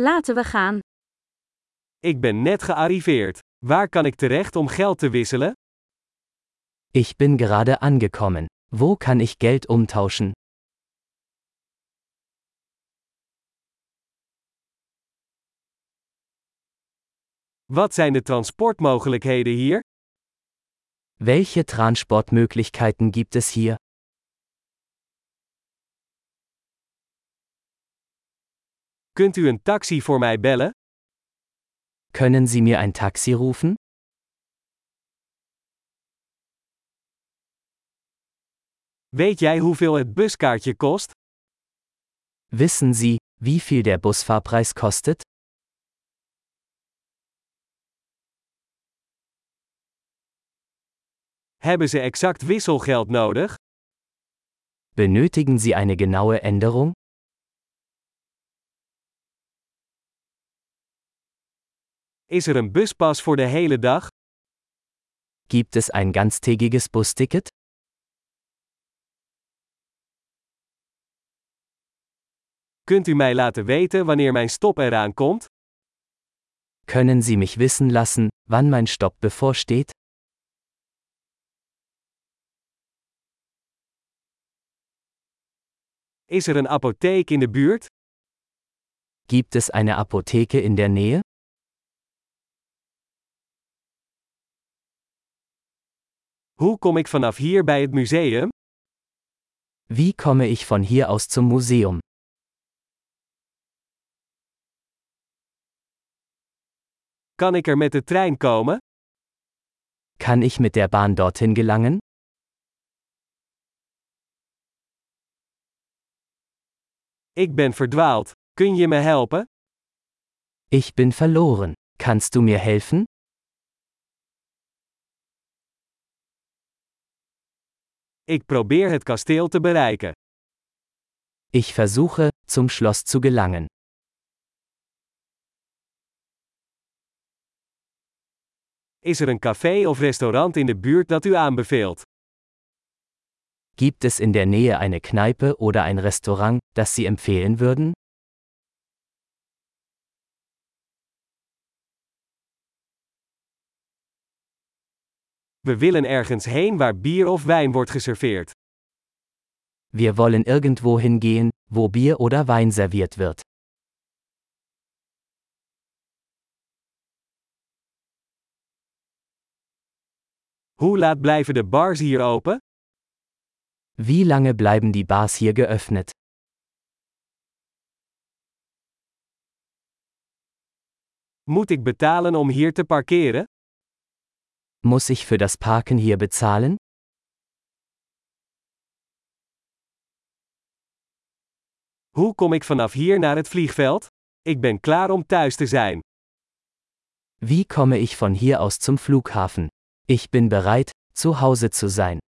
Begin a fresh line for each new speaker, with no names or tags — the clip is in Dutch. Laten we gaan.
Ik ben net gearriveerd. Waar kan ik terecht om geld te wisselen?
Ich bin gerade angekommen. Wo kann ich Geld umtauschen?
Wat zijn de transportmogelijkheden hier?
Welche Transportmöglichkeiten gibt es hier?
Kunt u een taxi voor mij bellen?
Können Sie mir ein Taxi rufen?
Weet jij hoeveel het buskaartje kost?
Wissen Sie, wie viel der Busfahrpreis kostet?
Hebben ze exact wisselgeld nodig?
Benötigen Sie eine genaue Änderung?
Is er een buspas voor de hele dag?
Gibt es ein ganztägiges Busticket?
Kunt u mij laten weten wanneer mijn stop eraan komt?
Können Sie mich wissen lassen, wann mein Stopp bevorsteht?
Is er een apotheek in de buurt?
Gibt es eine Apotheke in der Nähe?
Hoe kom ik vanaf hier bij het museum?
Wie komme ich von hier aus zum Museum?
Kan ik er met de trein komen?
Kann ich mit der Bahn dorthin gelangen?
Ik ben verdwaald. Kun je me helpen?
Ich bin verloren. Kannst du mir helfen?
Ik probeer het kasteel te bereiken.
Ich versuche, zum Schloss zu gelangen.
Is er een café of restaurant in de buurt dat u aanbeveelt?
Gibt es in der Nähe eine Kneipe oder ein Restaurant, das Sie empfehlen würden?
We willen ergens heen waar bier of wijn wordt geserveerd.
Wir wollen irgendwo hingehen, wo Bier oder Wein serviert wird.
Hoe laat blijven de bars hier open?
Wie lange bleiben die Bars hier geöffnet?
Moet ik betalen om hier te parkeren?
Muss ich für das Parken hier bezahlen?
Hoe kom ik vanaf hier naar het vliegveld? Ik ben klaar om thuis te zijn.
Wie komme ich von hier aus zum Flughafen? Ich bin bereit, zu Hause zu sein.